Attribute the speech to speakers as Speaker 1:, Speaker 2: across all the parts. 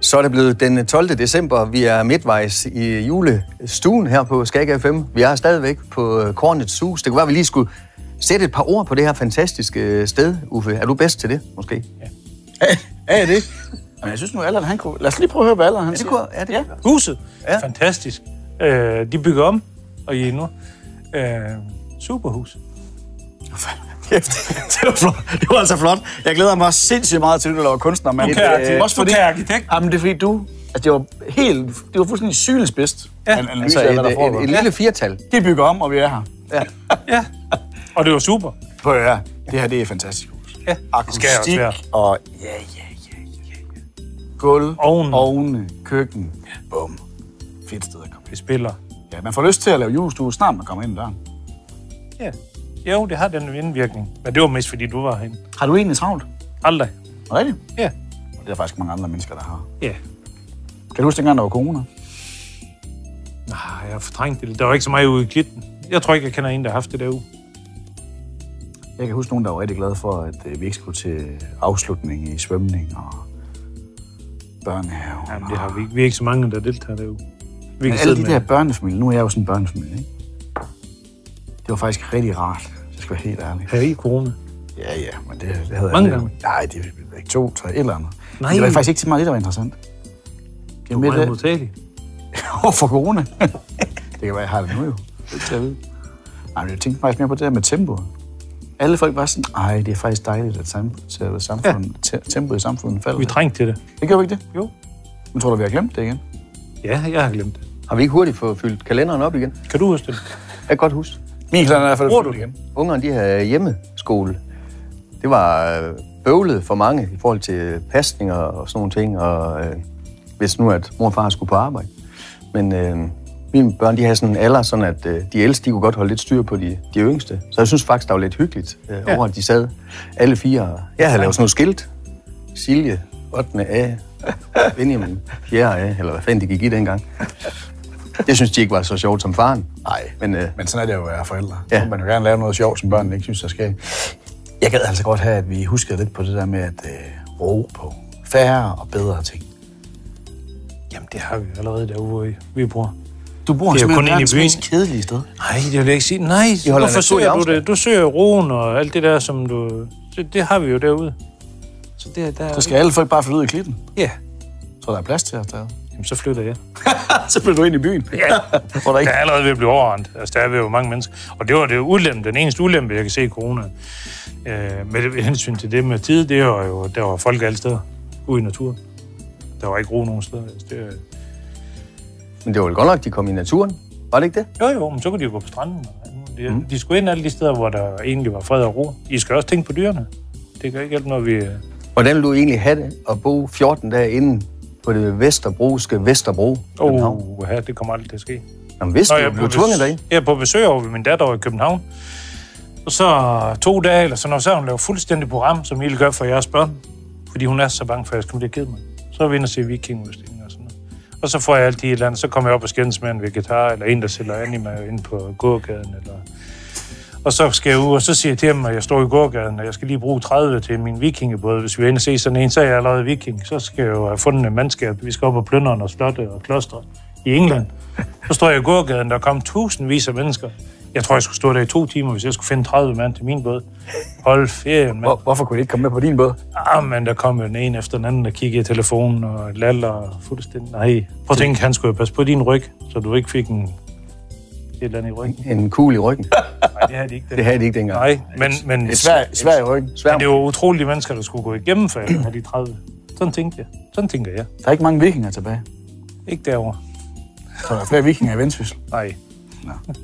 Speaker 1: Så er det blevet den 12. december. Vi er midtvejs i julestuen her på Skag FM. Vi er stadigvæk på øh, Kornets Hus. Det kunne være, at vi lige skulle sætte et par ord på det her fantastiske øh, sted, Uffe. Er du bedst til det, måske?
Speaker 2: Ja, ja, det. Men jeg synes nu, Allan, han kunne... Lad os lige prøve at høre, hvad Allan han
Speaker 1: det
Speaker 2: siger.
Speaker 1: kunne- ja, det
Speaker 2: ja.
Speaker 1: kunne være.
Speaker 3: Huset.
Speaker 1: Ja.
Speaker 3: Ja. Fantastisk. Øh, de bygger om, og I er nu. Øh, superhus.
Speaker 2: Kæft, det var flot. Det var altså flot. Jeg glæder mig sindssygt meget til, at du laver kunstner, mand.
Speaker 3: Du kan,
Speaker 2: Øh,
Speaker 3: øh, også fordi... du kan arkitekt.
Speaker 2: Jamen, det er fordi du... Altså, det var helt... Det var fuldstændig sylens bedst. Ja. En analyse
Speaker 1: Altså
Speaker 2: altså, af, hvad
Speaker 1: et,
Speaker 2: der
Speaker 1: et,
Speaker 2: foregår.
Speaker 1: et lille firtal.
Speaker 2: Det bygger om, og vi er her.
Speaker 1: Ja.
Speaker 3: Ja. Og det var super.
Speaker 2: Prøv at høre. Det her, det er fantastisk hus.
Speaker 3: Ja.
Speaker 2: Akustik
Speaker 3: skal også være.
Speaker 2: og... Ja, ja, ja, ja. Gulv,
Speaker 3: Ovnen.
Speaker 2: ovne, køkken. Bum. Fedt sted at komme ind.
Speaker 3: Det spiller.
Speaker 2: Ja, man får lyst til at lave julestue snart, man kommer ind ad døren.
Speaker 3: Ja. Jo, det har den indvirkning. Men det var mest, fordi du var herinde.
Speaker 2: Har du egentlig travlt?
Speaker 3: Aldrig.
Speaker 2: Er det Rigtigt?
Speaker 3: Ja.
Speaker 2: Og det er der faktisk mange andre mennesker, der har.
Speaker 3: Ja.
Speaker 2: Kan du huske dengang, der var corona?
Speaker 3: Nej, jeg har fortrængt det. Der var ikke så meget ude i klitten. Jeg tror ikke, jeg kender en, der har haft det derude.
Speaker 2: Jeg kan huske nogen, der var rigtig glade for, at øh, vi ikke skulle til afslutning i svømning og børnehave.
Speaker 3: Jamen, det har vi ikke. Vi er ikke så mange, der deltager derude. Vi
Speaker 2: Men alle de der børnefamilier, nu er jeg jo sådan en børnefamilie, ikke? Det var faktisk rigtig rart, hvis jeg skal være helt ærlig.
Speaker 3: her i corona.
Speaker 2: Ja, ja, men det, det havde
Speaker 3: Mange
Speaker 2: jeg
Speaker 3: gange?
Speaker 2: Nej, det var ikke to, tre, et eller andet.
Speaker 3: Nej.
Speaker 2: Det var faktisk ikke så meget det, der var interessant. Det var
Speaker 3: Du er meget
Speaker 2: mere
Speaker 3: modtagelig.
Speaker 2: det for corona. det kan være, jeg har det nu jo. Det er ikke til at vide. Nej, men jeg tænkte faktisk mere på det der med tempoet. Alle folk var sådan, ej, det er faktisk dejligt, at sam- at samfundet, ja. tempoet i samfundet falder.
Speaker 3: Vi trængte til det.
Speaker 2: Det gjorde vi ikke det?
Speaker 3: Jo.
Speaker 2: Men tror du, vi har glemt det igen?
Speaker 3: Ja, jeg har glemt det.
Speaker 1: Har vi ikke hurtigt fået fyldt kalenderen op igen? Jeg
Speaker 3: Kan du huske det?
Speaker 1: kan godt huske.
Speaker 2: Min kalender er i hvert fald
Speaker 3: Bruger du
Speaker 2: fyldt
Speaker 3: det?
Speaker 1: Ungerne, de havde hjemmeskole. Det var øh, bøvlet for mange i forhold til pasninger og sådan nogle ting, og øh, hvis nu, at mor og far skulle på arbejde. Men øh, mine børn, de havde sådan en alder, sådan at øh, de ældste, de kunne godt holde lidt styr på de, de yngste. Så jeg synes faktisk, det var lidt hyggeligt øh, ja. over, at de sad alle fire. Jeg havde lavet sådan nogle skilt. Silje, 8. A, Benjamin, 4. A, eller hvad fanden det gik i dengang. Det synes de ikke var så sjovt som faren.
Speaker 2: Nej.
Speaker 1: Men øh,
Speaker 2: Men sådan er det jo at være forældre.
Speaker 1: Ja.
Speaker 2: Ja. Man vil gerne lave noget sjovt, som børnene ikke synes, der skal. Jeg gad altså godt have, at vi huskede lidt på det der med at øh, ro på færre og bedre ting.
Speaker 3: Jamen, det har vi jo allerede derude, hvor I- vi bor.
Speaker 2: Du bor
Speaker 3: Det er jo
Speaker 2: simpelthen
Speaker 3: kun inde i
Speaker 2: verdens
Speaker 3: byen.
Speaker 2: mest kedelige sted.
Speaker 3: Nej, det vil jeg ikke sige. Nej,
Speaker 1: I holder
Speaker 3: hvorfor
Speaker 1: naturlig
Speaker 3: søger du
Speaker 1: afstand.
Speaker 3: det? Du søger roen og alt det der, som du... Det, det har vi jo derude. Så det, der er
Speaker 2: Så skal alle folk bare flytte ud i klitten,
Speaker 3: Ja.
Speaker 2: så der er plads til at tage.
Speaker 3: Jamen, så flytter jeg.
Speaker 2: så flytter du ind i byen. Ja. Hvor der
Speaker 3: Jeg
Speaker 2: ikke...
Speaker 3: er allerede ved at blive overrendt. Altså, der er jo mange mennesker. Og det var det ulempe, den eneste ulempe, jeg kan se i corona. Øh, med det- hensyn til det med tid, det var jo, der var folk alle steder ude i naturen. Der var ikke ro nogen steder. Altså, det, er-
Speaker 1: Men det var vel godt nok, de kom i naturen. Var det ikke det?
Speaker 3: jo, jo, men så kunne de jo gå på stranden. og alt muligt. De, mm. de skulle ind alle de steder, hvor der egentlig var fred og ro. I skal også tænke på dyrene. Det gør ikke alt, når vi... øh,
Speaker 1: Hvordan ville du egentlig have det at bo 14 dage inden på det vesterbroske Vesterbro?
Speaker 3: Åh, oh, her, det kommer aldrig til at ske.
Speaker 1: Jamen, hvis
Speaker 3: jeg
Speaker 1: du blev tvunget derind.
Speaker 3: Jeg er på besøg over ved min datter over i København. Og så to dage eller sådan noget, så har hun lavet fuldstændig program, som I vil gøre for jeres børn. Fordi hun er så bange for, at jeg skal blive ked mig. Så er vi inde og se vikingudstillingen og sådan noget. Og så får jeg alt det et eller andet, så kommer jeg op og skændes med en vegetar, eller en, der sælger anime inde på gågaden, eller... Og så skal jeg ud, og så siger jeg til ham, at jeg står i gågaden, og jeg skal lige bruge 30 til min vikingebåd. Hvis vi ender se sådan en, så er jeg allerede viking. Så skal jeg jo have fundet en mandskab. Vi skal op og plønderen og slotte og klostre i England. Så står jeg i gågaden, der kom tusindvis af mennesker. Jeg tror, jeg skulle stå der i to timer, hvis jeg skulle finde 30 mand til min båd. Hold ferien, mand.
Speaker 2: Hvor, hvorfor kunne de ikke komme med på din båd?
Speaker 3: Ah, men der kom jo den ene efter den anden, der kiggede i telefonen og laller og fuldstændig. Nej, prøv at tænke, han skulle jo passe på din ryg, så du ikke fik en et eller andet i ryggen.
Speaker 1: En kugle i ryggen.
Speaker 3: Nej, det havde de ikke.
Speaker 1: Det havde de ikke dengang.
Speaker 3: Nej, men, men
Speaker 2: Det svær, svær i ryggen.
Speaker 1: Svær.
Speaker 3: Men det var utrolige mennesker, der skulle gå igennem for alle de 30. Sådan tænkte jeg. Sådan tænker jeg.
Speaker 2: Der er ikke mange vikinger tilbage.
Speaker 3: Ikke derovre.
Speaker 2: Så der er flere vikinger i Vendsyssel.
Speaker 3: Nej.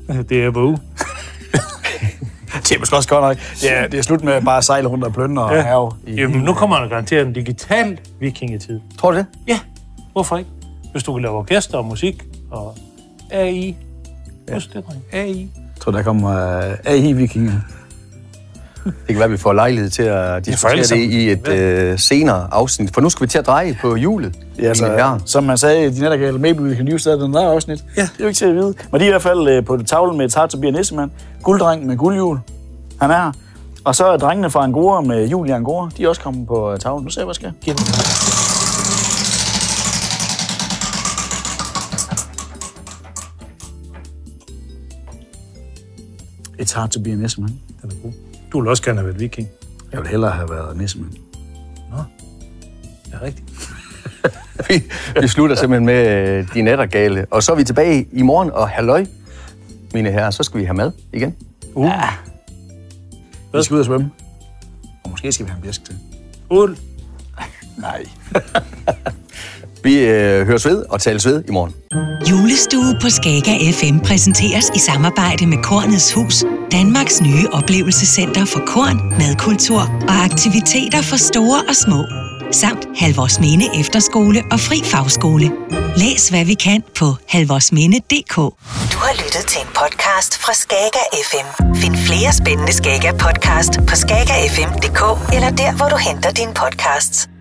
Speaker 3: det er bare
Speaker 2: Det er måske også godt nok. Det er, det er slut med at bare sejle rundt og plønne og ja. have. I,
Speaker 3: Jamen, nu kommer der garanteret en digital vikingetid.
Speaker 1: Tror du det?
Speaker 3: Ja, hvorfor ikke? Hvis du kan lave orkester og musik og AI. Husk det, dreng. AI.
Speaker 2: øh, Jeg tror, der kommer uh, AI-vikinger.
Speaker 1: Det kan være, at vi får lejlighed til at diskutere det
Speaker 3: sammen.
Speaker 1: i et øh, senere afsnit, for nu skal vi til at dreje på hjulet.
Speaker 2: Ja, altså,
Speaker 1: mine herrer.
Speaker 2: som man sagde i de nattergale, maybe we can use that in another afsnit. Ja. Det er jo ikke til at vide. Men de er i hvert fald øh, på tavlen med Tar Tobias Nissemann. Gulddreng med guldhjul. Han er her. Og så er drengene fra Angora med jul i Angora. De er også kommet på øh, tavlen. Nu ser jeg, hvad der sker. Giv den. It's hard to be a Nissemann.
Speaker 3: Den er god. Du ville også gerne have været viking.
Speaker 2: Jeg ville hellere have været Nissemann.
Speaker 3: Ja, rigtigt.
Speaker 1: Vi, vi slutter simpelthen med øh, de nattergale. Og så er vi tilbage i morgen, og halløj, mine herrer, så skal vi have mad igen.
Speaker 3: Uh, ja.
Speaker 2: Vi skal ud og svømme. Og måske skal vi have en bjæsk til.
Speaker 3: Uld.
Speaker 2: Nej.
Speaker 1: Vi øh, høres ved og tales ved i morgen.
Speaker 4: Julestue på Skaga FM præsenteres i samarbejde med Kornets Hus, Danmarks nye oplevelsescenter for korn, madkultur og aktiviteter for store og små. Samt Halvorsminde Efterskole og Fri Fagskole. Læs hvad vi kan på halvorsminde.dk.
Speaker 5: Du har lyttet til en podcast fra Skaga FM. Find flere spændende Skaga podcast på skagafm.dk eller der, hvor du henter dine podcasts.